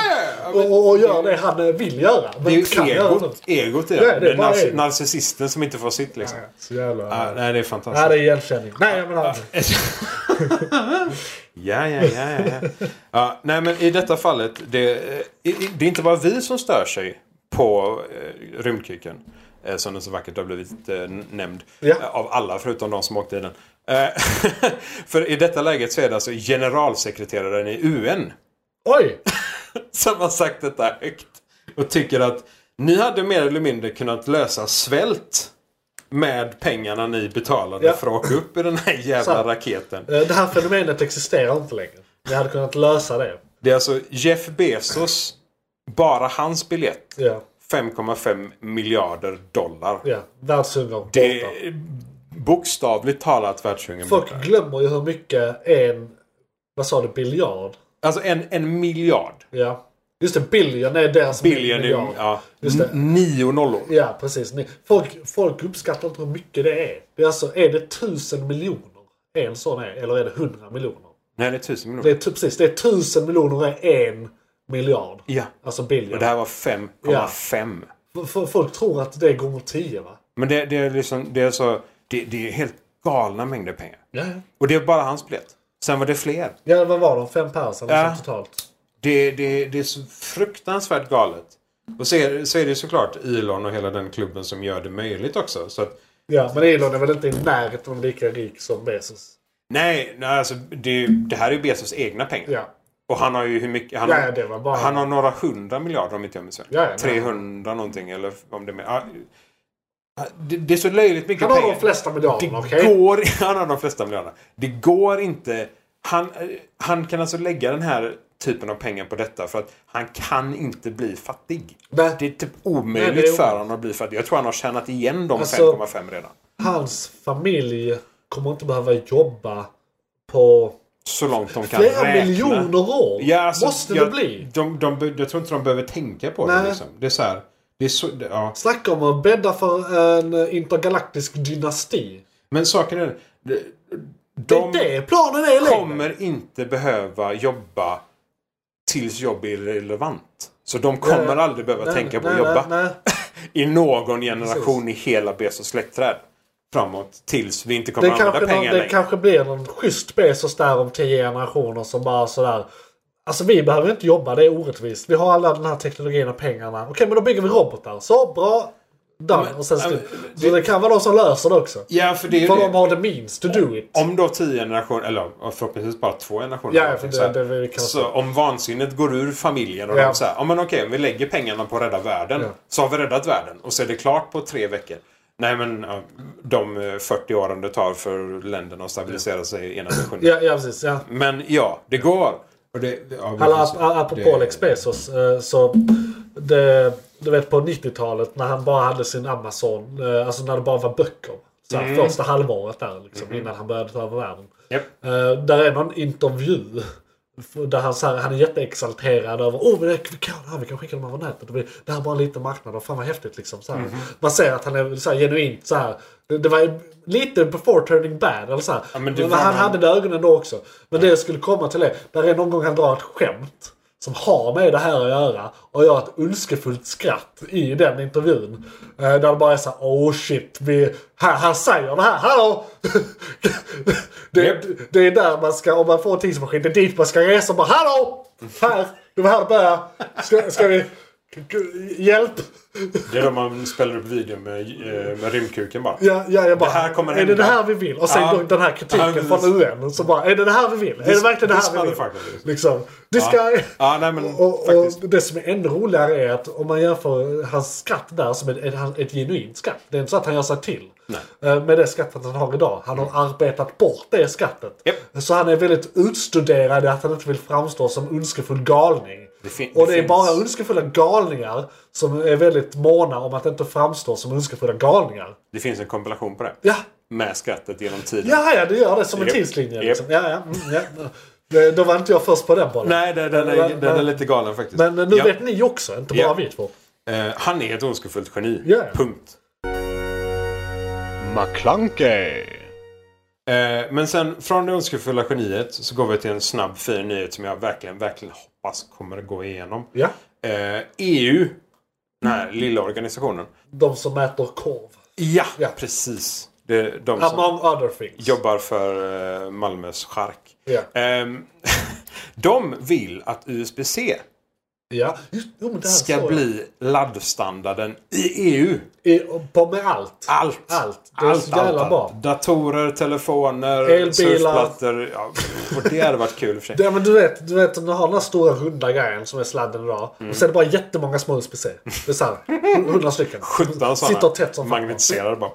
[SPEAKER 3] ja.
[SPEAKER 1] Och, och, och gör det han eh, vill göra. Men
[SPEAKER 3] Det är
[SPEAKER 1] inte kan
[SPEAKER 3] ju
[SPEAKER 1] göra nu.
[SPEAKER 3] egot, egot i det.
[SPEAKER 1] Ja, det är
[SPEAKER 3] det är
[SPEAKER 1] bara
[SPEAKER 3] narci-
[SPEAKER 1] ego.
[SPEAKER 3] narcissisten som inte får sitt liksom.
[SPEAKER 1] Så jävla...
[SPEAKER 3] Ja, nej, det är fantastiskt.
[SPEAKER 1] Nej, det är igenkänning. Nej, jag menar...
[SPEAKER 3] ja, ja, ja, ja, ja. ja. Nej, men i detta fallet. Det, eh, i- det är inte bara vi som stör sig på eh, rymdkiken. Eh, som den så vackert har blivit eh, n- nämnd.
[SPEAKER 1] Ja.
[SPEAKER 3] Eh, av alla förutom de som åkte i den. Eh, för i detta läget så är det alltså generalsekreteraren i UN
[SPEAKER 1] Oj!
[SPEAKER 3] som har sagt detta högt. Och tycker att ni hade mer eller mindre kunnat lösa svält med pengarna ni betalade
[SPEAKER 1] Ja.
[SPEAKER 3] för att åka upp i den här jävla
[SPEAKER 1] Sant.
[SPEAKER 3] raketen.
[SPEAKER 1] eh, Det här fenomenet existerar inte längre. Vi hade kunnat lösa det.
[SPEAKER 3] Det är alltså Jeff Bezos, bara hans biljett,
[SPEAKER 1] Ja,
[SPEAKER 3] 5,5 miljarder dollar.
[SPEAKER 1] ja. Världshungern.
[SPEAKER 3] Det
[SPEAKER 1] borta.
[SPEAKER 3] är bokstavligt talat världshungern. borta.
[SPEAKER 1] Folk glömmer ju hur mycket en... Vad sa du? Biljard?
[SPEAKER 3] Alltså en, en miljard.
[SPEAKER 1] Ja. Just det, billion är deras
[SPEAKER 3] Billion är
[SPEAKER 1] miljard.
[SPEAKER 3] ja,
[SPEAKER 1] Just det.
[SPEAKER 3] n- nio nollor.
[SPEAKER 1] Ja, precis. Ni- Folk, folk uppskattar inte hur mycket det är. Det är alltså, är det tusen miljoner en sån är? Eller är det hundra miljoner?
[SPEAKER 3] Nej, det är tusen
[SPEAKER 1] Det
[SPEAKER 3] miljoner.
[SPEAKER 1] är, tu- precis, det är tusen miljoner är en miljard.
[SPEAKER 3] Ja.
[SPEAKER 1] Alltså
[SPEAKER 3] Och
[SPEAKER 1] billion.
[SPEAKER 3] det här var 5,5.
[SPEAKER 1] F- f- Folk tror att det är gånger tio va?
[SPEAKER 3] Men det, det är liksom, det är så, det, det är helt galna mängder pengar.
[SPEAKER 1] Ja,
[SPEAKER 3] Och det är bara hans biljett. Sen var det fler.
[SPEAKER 1] ja. vad var de? Fem pers eller
[SPEAKER 3] Ja.
[SPEAKER 1] så totalt?
[SPEAKER 3] Det, det, det är så fruktansvärt galet. Och så är, så är det såklart Elon och hela den klubben som gör det möjligt också. Så att,
[SPEAKER 1] Ja, men Elon är väl inte i närheten av lika rik som Bezos?
[SPEAKER 3] nej, nej alltså, det, det här är ju Bezos egna pengar.
[SPEAKER 1] Ja.
[SPEAKER 3] Och han har ju hur mycket... Han,
[SPEAKER 1] Ja, det var bara-
[SPEAKER 3] han har några hundra miljarder om inte jag minns fel.
[SPEAKER 1] Ja, ja, nej.
[SPEAKER 3] 300 någonting eller om det är mer. Ja, det, det är så löjligt mycket
[SPEAKER 1] Han
[SPEAKER 3] pengar.
[SPEAKER 1] har de flesta miljarderna, okej?
[SPEAKER 3] Det går, han har de flesta miljarderna. Det går inte. Han, eh, han kan alltså lägga den här typen av pengar på detta för att han kan inte bli fattig.
[SPEAKER 1] Nej.
[SPEAKER 3] Det är typ omöjligt
[SPEAKER 1] Nej, det är
[SPEAKER 3] för honom att bli fattig. Jag tror han har tjänat igen de
[SPEAKER 1] Alltså-
[SPEAKER 3] 5,5 redan.
[SPEAKER 1] Hans familj kommer inte behöva jobba på
[SPEAKER 3] Så långt de kan
[SPEAKER 1] flera
[SPEAKER 3] räkna.
[SPEAKER 1] miljoner år.
[SPEAKER 3] Ja, alltså,
[SPEAKER 1] Måste
[SPEAKER 3] jag,
[SPEAKER 1] det bli.
[SPEAKER 3] De, de, be- jag tror inte de behöver tänka på det.
[SPEAKER 1] Nej.
[SPEAKER 3] Liksom. Det är så här. Det är så, det, ja.
[SPEAKER 1] Snacka om att bädda för en intergalaktisk dynasti.
[SPEAKER 3] Men saken är... De,
[SPEAKER 1] Det
[SPEAKER 3] de
[SPEAKER 1] är det planen är längre.
[SPEAKER 3] kommer inte behöva jobba tills jobb är relevant. Så de kommer
[SPEAKER 1] Nej.
[SPEAKER 3] aldrig behöva
[SPEAKER 1] Nej,
[SPEAKER 3] tänka på att
[SPEAKER 1] nej,
[SPEAKER 3] jobba.
[SPEAKER 1] Nej, nej.
[SPEAKER 3] i någon generation i hela Bezos släktträd. Framåt tills vi inte kommer
[SPEAKER 1] Det,
[SPEAKER 3] att använda
[SPEAKER 1] kanske, någon,
[SPEAKER 3] pengar
[SPEAKER 1] det
[SPEAKER 3] längre.
[SPEAKER 1] kanske blir någon schysst Bezos där om tio generationer som bara sådär. Alltså vi behöver inte jobba, det är orättvist. Vi har alla den här teknologin och pengarna. Okej, men då bygger vi robotar. Så, bra. Done.
[SPEAKER 3] Men-
[SPEAKER 1] och sen,
[SPEAKER 3] ja,
[SPEAKER 1] slut.
[SPEAKER 3] men-
[SPEAKER 1] så det kan vara de som löser det också.
[SPEAKER 3] Ja, för det är ju
[SPEAKER 1] För
[SPEAKER 3] det.
[SPEAKER 1] de har the means to do it.
[SPEAKER 3] Om då tio generationer, eller ja, förhoppningsvis bara två generationer.
[SPEAKER 1] Ja, ja, för
[SPEAKER 3] så, här,
[SPEAKER 1] det- det- det kan vara
[SPEAKER 3] så om vansinnet går ur familjen och
[SPEAKER 1] Ja.
[SPEAKER 3] de säger ja men okej, vi lägger pengarna på att rädda världen.
[SPEAKER 1] Ja.
[SPEAKER 3] Så har vi räddat världen och så är det klart på tre veckor. Nej men ja, de eh, 40 åren det tar för länderna att stabilisera sig i ena nationen.
[SPEAKER 1] Ja, ja precis. Ja.
[SPEAKER 3] Men ja, det går. Och det, ja, vi
[SPEAKER 1] Alla,
[SPEAKER 3] får se.
[SPEAKER 1] ap- apropå
[SPEAKER 3] Det-
[SPEAKER 1] Lex Bezos. eh, Så det, du vet på 90-talet när han bara hade sin Amazon. eh, Alltså när det bara var böcker. Så här, Första halvåret där liksom, innan han började ta över världen.
[SPEAKER 3] Mm. Japp.
[SPEAKER 1] Eh, Där är någon intervju. Där han, så här, han är jätteexalterad över oh, men det, vi, kan, det här, vi kan skicka dem över nätet. Det, blir, det här är bara en liten marknad och fan vad häftigt. Liksom, så här.
[SPEAKER 3] Mm-hmm.
[SPEAKER 1] Man ser att han är så här, genuint så här. Det, det var lite before turning bad. Eller så här.
[SPEAKER 3] Ja, men
[SPEAKER 1] men
[SPEAKER 3] det var
[SPEAKER 1] han
[SPEAKER 3] han-
[SPEAKER 1] hade det i ögonen då också. Men det jag skulle komma till är, där är någon gång han drar ett skämt. som har med det här att göra och gör ett ondskefullt skratt i den intervjun. Eh, Där det bara är såhär, oh shit, vi, han, han säger det här, hallå! det,
[SPEAKER 3] Japp.
[SPEAKER 1] det är där man ska, om man får en tidsmaskin, det är dit man ska resa och bara, hallå! Här, det var här det började. Ska, ska vi, hjälp!
[SPEAKER 3] Det är då man spelar upp videon med, eh, med rymdkuken bara.
[SPEAKER 1] Ja, ja, jag bara,
[SPEAKER 3] Det här kommer
[SPEAKER 1] är det
[SPEAKER 3] hända.
[SPEAKER 1] det här vi vill? Och sen
[SPEAKER 3] Ja.
[SPEAKER 1] då den här kritiken
[SPEAKER 3] Ja,
[SPEAKER 1] från UN. Så bara, är det det här vi vill? är det verkligen det
[SPEAKER 3] this
[SPEAKER 1] här vi vill?
[SPEAKER 3] motherfucker.
[SPEAKER 1] Liksom, det ska...
[SPEAKER 3] Ja, nej men
[SPEAKER 1] Och,
[SPEAKER 3] faktiskt.
[SPEAKER 1] och det som är ännu roligare är att om man jämför hans skratt där som ett, ett, ett genuint skratt. Det är inte så att han gör sig till. eh, Med det skrattet han har idag. Han har arbetat bort det skrattet.
[SPEAKER 3] Japp.
[SPEAKER 1] Så han är väldigt utstuderad i att han inte vill framstå som ondskefull galning.
[SPEAKER 3] Det fin-
[SPEAKER 1] och det,
[SPEAKER 3] det
[SPEAKER 1] är
[SPEAKER 3] finns.
[SPEAKER 1] bara ondskefulla galningar som är väldigt måna om att inte framstå som ondskefulla galningar.
[SPEAKER 3] Det finns en kompilation på det.
[SPEAKER 1] Ja,
[SPEAKER 3] Med skrattet genom tiden.
[SPEAKER 1] ja, ja det gör det som en
[SPEAKER 3] Japp.
[SPEAKER 1] tidslinje.
[SPEAKER 3] Japp.
[SPEAKER 1] Liksom. Ja, ja, mm, ja. Det- Då var inte jag först på den bollen.
[SPEAKER 3] Nej, den, den, är,
[SPEAKER 1] Men-
[SPEAKER 3] den är
[SPEAKER 1] men-
[SPEAKER 3] lite galen faktiskt.
[SPEAKER 1] Men nu
[SPEAKER 3] Ja.
[SPEAKER 1] vet ni också, inte bara
[SPEAKER 3] Ja.
[SPEAKER 1] vi två.
[SPEAKER 3] Eh, han är ett oskuldsfullt geni.
[SPEAKER 1] Ja.
[SPEAKER 3] Punkt.
[SPEAKER 4] McClunkey!
[SPEAKER 3] Eh, men sen från det oskuldsfulla geniet så går vi till en snabb fin nyhet som jag verkligen, verkligen hoppas kommer att gå igenom.
[SPEAKER 1] Ja.
[SPEAKER 3] Eh, EU, den här
[SPEAKER 1] Mm.
[SPEAKER 3] lilla organisationen.
[SPEAKER 1] De som äter korv.
[SPEAKER 3] Ja,
[SPEAKER 1] Ja.
[SPEAKER 3] precis. Det är de som
[SPEAKER 1] Among other things.
[SPEAKER 3] jobbar för eh, Malmös chark.
[SPEAKER 1] Ja.
[SPEAKER 3] Ehm, de vill att USB-C
[SPEAKER 1] Ja. Just, jo, men det här
[SPEAKER 3] ska
[SPEAKER 1] såg jag.
[SPEAKER 3] bli laddstandarden i E EU.
[SPEAKER 1] I, på med allt.
[SPEAKER 3] Allt!
[SPEAKER 1] Allt. Det är så jävla bra.
[SPEAKER 3] Datorer, telefoner,
[SPEAKER 1] Elbilar.
[SPEAKER 3] surfplattor. Ja, och det hade varit kul i och för sig.
[SPEAKER 1] Ja, men du vet, du vet om du har den här stora runda grejen som är sladden idag.
[SPEAKER 3] Mm.
[SPEAKER 1] Och sen är det bara jättemånga små USB-C. Det är såhär, hundra stycken.
[SPEAKER 3] 17 sådana.
[SPEAKER 1] Sitter tätt som fan.
[SPEAKER 3] Magnetiserade bara.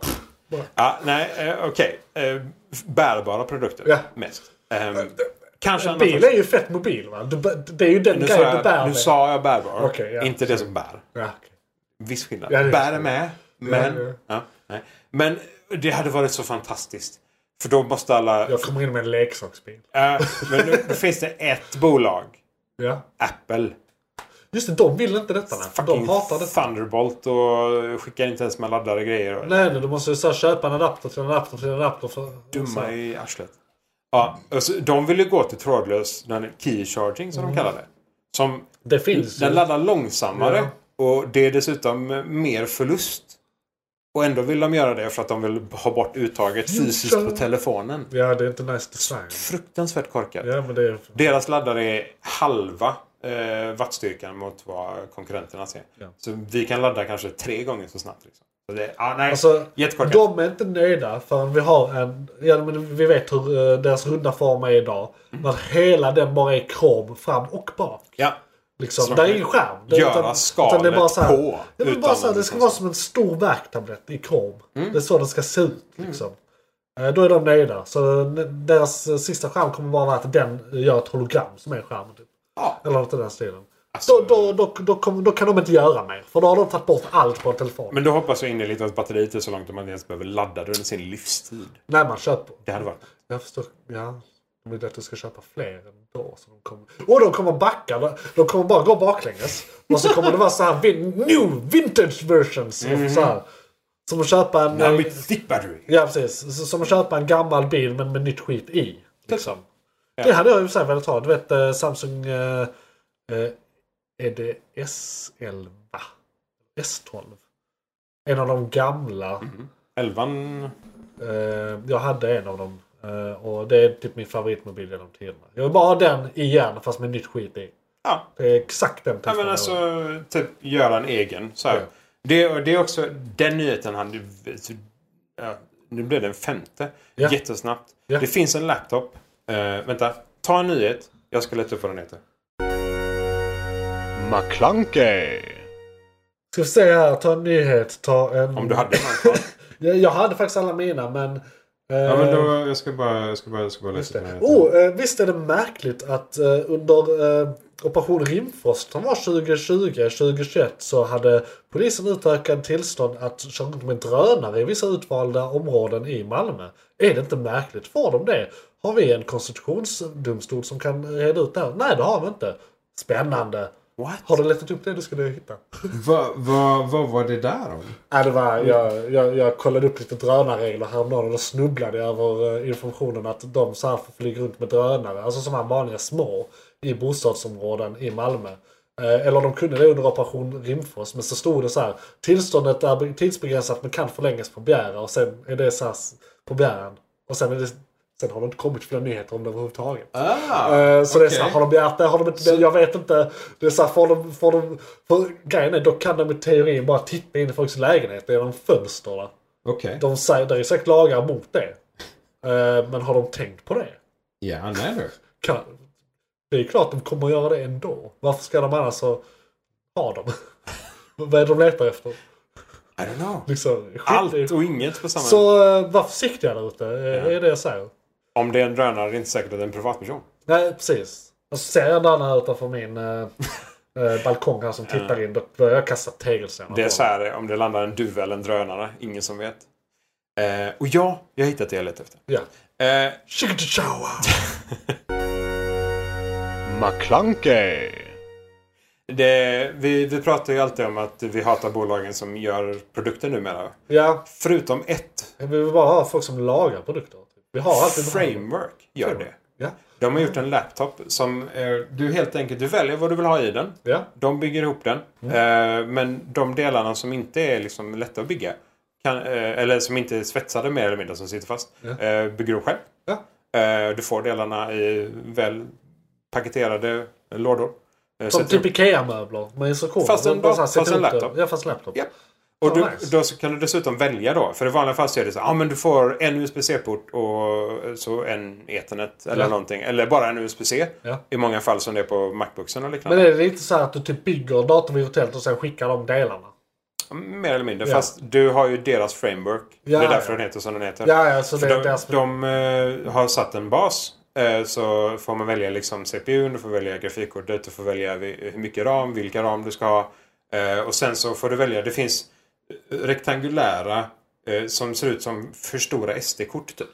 [SPEAKER 3] Ja, nej, eh, okej. Eh, bärbara produkter
[SPEAKER 1] Ja. Eh,
[SPEAKER 3] mest. Ehm, kanske andra
[SPEAKER 1] Bil är ju fett mobil va? Du, bä- det är ju den
[SPEAKER 3] Nu sa,
[SPEAKER 1] grejen du bär
[SPEAKER 3] jag, nu
[SPEAKER 1] med.
[SPEAKER 3] sa jag bärbar.
[SPEAKER 1] Okej, ja.
[SPEAKER 3] Inte det som bär.
[SPEAKER 1] Ja, okej.
[SPEAKER 3] Viss skillnad.
[SPEAKER 1] Ja, det är
[SPEAKER 3] bär är
[SPEAKER 1] det.
[SPEAKER 3] med. Men,
[SPEAKER 1] Ja, ja.
[SPEAKER 3] ja, nej. men det hade varit så fantastiskt. För då måste alla...
[SPEAKER 1] Jag kommer in med en leksaksbil.
[SPEAKER 3] Äh, men nu då finns det ett bolag.
[SPEAKER 1] Ja.
[SPEAKER 3] Apple.
[SPEAKER 1] Just det, de vill inte detta. nej.
[SPEAKER 3] Fucking
[SPEAKER 1] De hatar detta.
[SPEAKER 3] Thunderbolt och skickar inte ens med laddare grejer. Och
[SPEAKER 1] Nej, nej, du måste ju så här, köpa en adapter till en adapter till en adapter. För, så
[SPEAKER 3] dumma
[SPEAKER 1] här.
[SPEAKER 3] i arslet. Ja, alltså, de vill ju gå till trådlös den key charging
[SPEAKER 1] Mm.
[SPEAKER 3] som de kallar det. Som
[SPEAKER 1] Det finns
[SPEAKER 3] Den
[SPEAKER 1] ju.
[SPEAKER 3] laddar långsammare och det är dessutom mer förlust. Och ändå vill de göra det för att de vill ha bort uttaget fysiskt på telefonen.
[SPEAKER 1] Ja, det är inte nice design.
[SPEAKER 3] Fruktansvärt korkat.
[SPEAKER 1] Ja, men det är...
[SPEAKER 3] Deras laddare är halva eh, wattstyrkan mot vad konkurrenterna ser. Så vi kan ladda kanske tre gånger så snabbt. Liksom. Så det, ah, nej,
[SPEAKER 1] Alltså,
[SPEAKER 3] jättekorkat.
[SPEAKER 1] de är inte nöjda förrän vi har en... Ja, men vi vet hur eh, deras runda form är idag.
[SPEAKER 3] Mm.
[SPEAKER 1] Men hela den bara är krom fram och bak.
[SPEAKER 3] Ja.
[SPEAKER 1] Liksom.
[SPEAKER 3] Så
[SPEAKER 1] Där är
[SPEAKER 3] kan
[SPEAKER 1] ingen skärm. Det-
[SPEAKER 3] göra
[SPEAKER 1] det är bara
[SPEAKER 3] skalet
[SPEAKER 1] så här,
[SPEAKER 3] på, liksom.
[SPEAKER 1] Ja, men bara
[SPEAKER 3] utan
[SPEAKER 1] så här, det ska
[SPEAKER 3] någonting
[SPEAKER 1] vara som en stor värktablett i krom.
[SPEAKER 3] Mm.
[SPEAKER 1] Det är så den ska se ut. Liksom. Eh, Då är de nöjda. Så eh, deras eh, sista skärm kommer bara vara att den eh, gör ett hologram som är en skärm. Typ.
[SPEAKER 3] Ja.
[SPEAKER 1] Eller något i den stilen.
[SPEAKER 3] Alltså-
[SPEAKER 1] då, då, då, då, kommer- då kan de inte göra mer. För då har de tagit bort allt på en telefon.
[SPEAKER 3] Men då hoppas jag innerligt att batteriet är så långt att man inte ens behöver ladda det under sin livstid.
[SPEAKER 1] När man köper.
[SPEAKER 3] Det hade varit...
[SPEAKER 1] Jag förstår. Ja. Det blir att du ska köpa fler ändå. Så de kommer... Och de kommer backa. De- De kommer bara gå baklänges. Och så kommer det vara så här vin... new vintage versions. Mm. Så här. Som att köpa en...
[SPEAKER 3] Nej, men thick battery!
[SPEAKER 1] Ja precis. Så- Som att köpa en gammal bil men med nytt skit i. Liksom. Det hade jag ju så här velat ha. Du vet eh, Samsung... Eh, eh, är det S11? S12? En av de gamla.
[SPEAKER 3] Elvan...
[SPEAKER 1] Eh, jag hade en av dem. Eh, och det är typ min favoritmobil genom tiderna. Jag vill bara ha den igen fast med nytt skit i.
[SPEAKER 3] Ja,
[SPEAKER 1] Det är exakt den
[SPEAKER 3] Ja, men
[SPEAKER 1] jag vill ha.
[SPEAKER 3] alltså, typ göra en egen. Så här.
[SPEAKER 1] Ja.
[SPEAKER 3] Det, och det är också den nyheten han... Ja, nu blev det en femte.
[SPEAKER 1] Ja.
[SPEAKER 3] Jättesnabbt.
[SPEAKER 1] Ja.
[SPEAKER 3] Det finns en laptop. Eh, vänta, ta en nyhet. Jag ska leta upp vad den heter.
[SPEAKER 4] McClunkey!
[SPEAKER 1] Ska vi se här, ta en nyhet. Ta en...
[SPEAKER 3] Om du hade den här kvar.
[SPEAKER 1] jag, jag hade faktiskt alla mina men... eh,
[SPEAKER 3] ja, men då, jag ska bara, jag ska bara, jag ska bara
[SPEAKER 1] just
[SPEAKER 3] läsa upp den
[SPEAKER 1] det.
[SPEAKER 3] här nyheten.
[SPEAKER 1] Oh, eh, visst är det märkligt att eh, under eh, Operation Rimfrost som var 2020-2021 så hade polisen utökat tillstånd att köra runt med drönare i vissa utvalda områden i Malmö. Är det inte märkligt? Får de det? Har vi en konstitutionsdomstol som kan reda ut det här? Nej, det har vi inte. Spännande.
[SPEAKER 3] What?
[SPEAKER 1] Har du letat upp det du skulle hitta?
[SPEAKER 3] Vad va, vad var det där om?
[SPEAKER 1] Ja, Äh, det var, jag, jag, jag kollade upp lite drönarregler häromdagen och då snubblade jag över eh, informationen att de så här flyger runt med drönare, alltså som här vanliga små, i bostadsområden i Malmö. Eh, Eller de kunde det under Operation Rimfrost, men så stod det så här. Tillståndet är be- tidsbegränsat men kan förlängas på begäran och sen är det så här s- på begäran. Och sen, är det, sen har det inte kommit fler nyheter om det överhuvudtaget.
[SPEAKER 3] Ah,
[SPEAKER 1] Eh, Så det är så här,
[SPEAKER 3] okej.
[SPEAKER 1] har de begärt det? Har de inte det? Jag vet inte. Det är så här, får de, får de, för grejen är, då kan de i teorin bara titta in i folks lägenheter genom fönsterna.
[SPEAKER 3] Okej.
[SPEAKER 1] De säger, det är säkert lagar mot det. Eh, Men har de tänkt på det?
[SPEAKER 3] Ja, nej du.
[SPEAKER 1] Kan, det är klart de kommer att göra det ändå. Varför ska de annars så ha dem? Vad är det de letar efter?
[SPEAKER 3] I don't know.
[SPEAKER 1] Liksom, skit i-
[SPEAKER 3] Allt och inget på samma...
[SPEAKER 1] Så eh, var försiktiga där ute, eh, är det jag säger.
[SPEAKER 3] Om det är en drönare är det inte säkert att det är en privatperson.
[SPEAKER 1] Nej, precis. Jag ser en annan här utanför min eh, eh, balkong här som tittar in. Då börjar jag kasta tegelstenar
[SPEAKER 3] Det är
[SPEAKER 1] på
[SPEAKER 3] så här om det landar en duva eller en drönare. Ingen som vet. Eh, och ja, jag har hittat det jag letar efter.
[SPEAKER 1] dem. Ja.
[SPEAKER 3] Eh,
[SPEAKER 1] Chikatachawa!
[SPEAKER 4] McClunkey.
[SPEAKER 3] det, vi, vi pratar ju alltid om att vi hatar bolagen som gör produkter numera.
[SPEAKER 1] Ja,
[SPEAKER 3] Förutom ett
[SPEAKER 1] vi vill bara ha folk som lagar produkter. Vi har alltid
[SPEAKER 3] framework gör det.
[SPEAKER 1] Ja,
[SPEAKER 3] De har gjort en laptop som eh, du helt enkelt du väljer vad du vill ha i den.
[SPEAKER 1] ja.
[SPEAKER 3] De bygger ihop den.
[SPEAKER 1] Mm.
[SPEAKER 3] Eh, men de delarna som inte är liksom lätta att bygga. Kan, eh, eller som inte är svetsade mer eller mindre som sitter fast. Eh, bygger du själv.
[SPEAKER 1] Ja.
[SPEAKER 3] Eh, du får delarna i väl paketerade lådor. Eh,
[SPEAKER 1] Som
[SPEAKER 3] sätter
[SPEAKER 1] typ Ikea-möbler med instruktioner.
[SPEAKER 3] Fast en
[SPEAKER 1] De bara så här,
[SPEAKER 3] dator, fast
[SPEAKER 1] sätter
[SPEAKER 3] en
[SPEAKER 1] upp det.
[SPEAKER 3] laptop.
[SPEAKER 1] Ja, fast en laptop.
[SPEAKER 3] Ja. Och
[SPEAKER 1] Fan,
[SPEAKER 3] du,
[SPEAKER 1] nice.
[SPEAKER 3] då så kan du dessutom välja då. För i vanliga fall så är det så ja ah, men du får en USB-C-port och så en Ethernet eller
[SPEAKER 1] Ja.
[SPEAKER 3] någonting. Eller bara en USB-C.
[SPEAKER 1] Ja.
[SPEAKER 3] I många fall som det är på Macbooksen och liknande.
[SPEAKER 1] Men är det inte så här att du typ bygger datorn virtuellt och sen skickar de delarna?
[SPEAKER 3] Mer eller mindre.
[SPEAKER 1] Ja.
[SPEAKER 3] Fast du har ju deras framework.
[SPEAKER 1] Ja,
[SPEAKER 3] det är därför
[SPEAKER 1] ja.
[SPEAKER 3] den heter som den heter.
[SPEAKER 1] Ja, ja, så
[SPEAKER 3] För
[SPEAKER 1] det är
[SPEAKER 3] de
[SPEAKER 1] deras...
[SPEAKER 3] de eh, har satt en bas. eh, Så får man välja liksom CPUn, du får välja grafikkortet, du får välja vi- hur mycket ram, vilka ram du ska ha. Eh, Och sen så får du välja, det finns eh, rektangulära eh, som ser ut som för stora SD-kort typ.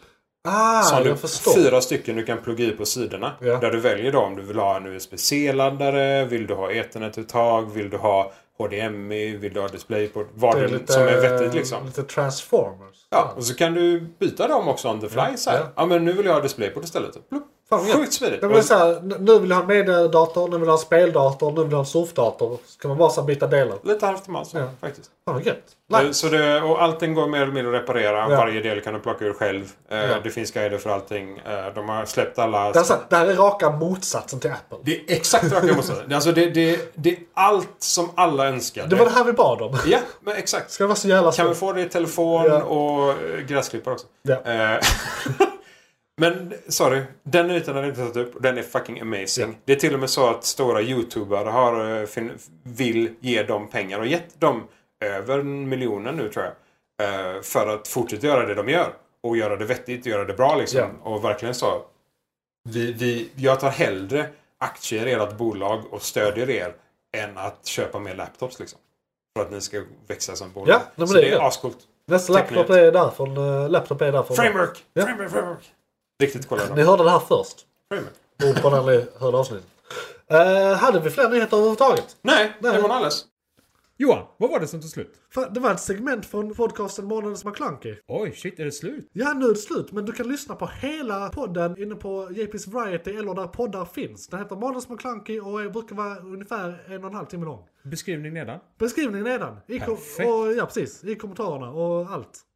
[SPEAKER 1] Ah,
[SPEAKER 3] Så har
[SPEAKER 1] jag
[SPEAKER 3] du
[SPEAKER 1] förstår.
[SPEAKER 3] fyra stycken du kan plugga i på sidorna.
[SPEAKER 1] Ja.
[SPEAKER 3] Där du väljer då om du vill ha en USB-C-laddare, vill du ha Ethernet-uttag, vill du ha HDMI, vill du ha DisplayPort. Vad
[SPEAKER 1] Det
[SPEAKER 3] det
[SPEAKER 1] är lite,
[SPEAKER 3] som är vettigt liksom.
[SPEAKER 1] Lite transformers.
[SPEAKER 3] Ja, och så kan du byta dem också on the fly. så här.
[SPEAKER 1] ja.
[SPEAKER 3] Ja. men nu vill jag ha DisplayPort istället. Plupp.
[SPEAKER 1] Fan, vad gött.
[SPEAKER 3] Sjukt smidigt.
[SPEAKER 1] Nej, men det är så här, n- nu vill jag ha en mediedator, nu vill jag ha en speldator, nu vill jag ha en surfdator. Så kan man bara så här byta delar.
[SPEAKER 3] Och Lite halvt om allt så,
[SPEAKER 1] Ja.
[SPEAKER 3] faktiskt.
[SPEAKER 1] Fan vad gött. Nice.
[SPEAKER 3] Eh, Så det, och allting går mer eller mindre att reparera.
[SPEAKER 1] Ja.
[SPEAKER 3] Varje del kan du plocka ur själv. Eh,
[SPEAKER 1] Ja.
[SPEAKER 3] Det finns guider för allting. Eh, De har släppt alla...
[SPEAKER 1] Det, är så här, det här är raka motsatsen till Apple.
[SPEAKER 3] Det är exakt rakt emot. Alltså det, det, det är allt som alla önskade.
[SPEAKER 1] Det var det här vi bad om.
[SPEAKER 3] Ja, men exakt.
[SPEAKER 1] Ska det vara så jävla
[SPEAKER 3] Kan vi
[SPEAKER 1] svårt?
[SPEAKER 3] få det i telefon
[SPEAKER 1] Ja.
[SPEAKER 3] och eh, gräsklippare också?
[SPEAKER 1] Ja.
[SPEAKER 3] Eh, men sorry, den ytan har jag inte tagit upp och den är fucking amazing. Det är till och med så att stora youtubare har, eh, fin- vill ge dem pengar och gett dem över en miljonen nu tror jag. eh, För att fortsätta göra det de gör. Och göra det vettigt och göra det bra liksom.
[SPEAKER 1] Ja.
[SPEAKER 3] Och verkligen så. Vi, vi, jag tar hellre aktier i ert bolag och stödjer er än att köpa mer laptops liksom. För att ni ska växa som bolag.
[SPEAKER 1] Ja, nej, men
[SPEAKER 3] så
[SPEAKER 1] det är
[SPEAKER 3] det
[SPEAKER 1] gött.
[SPEAKER 3] är ascoolt.
[SPEAKER 1] Nästa
[SPEAKER 3] Tekniskt.
[SPEAKER 1] laptop är därifrån. eh, Laptop är därifrån.
[SPEAKER 3] Framework!
[SPEAKER 1] Ja.
[SPEAKER 3] Framework, framework! Riktigt kolla
[SPEAKER 1] Ni
[SPEAKER 3] då.
[SPEAKER 1] hörde det här först.
[SPEAKER 3] Framework.
[SPEAKER 1] Beror på när ni hörde avsnittet. Eh, hade vi fler nyheter överhuvudtaget?
[SPEAKER 3] Nej,
[SPEAKER 1] Nej.
[SPEAKER 3] det var nog alldeles.
[SPEAKER 2] Johan, vad var det som tog slut?
[SPEAKER 1] Fan, Det var ett segment från podcasten Månadens McKlunky.
[SPEAKER 2] Oj, shit, är det slut?
[SPEAKER 1] Ja, nu är det slut. Men du kan lyssna på hela podden inne på JP's Variety eller där poddar finns. Den heter Månadens McKlunky och är- brukar vara ungefär en och en halv timme lång.
[SPEAKER 2] Beskrivning nedan.
[SPEAKER 1] Beskrivningen nedan. I kom-
[SPEAKER 2] Perfekt.
[SPEAKER 1] och, ja, precis. I kommentarerna och allt.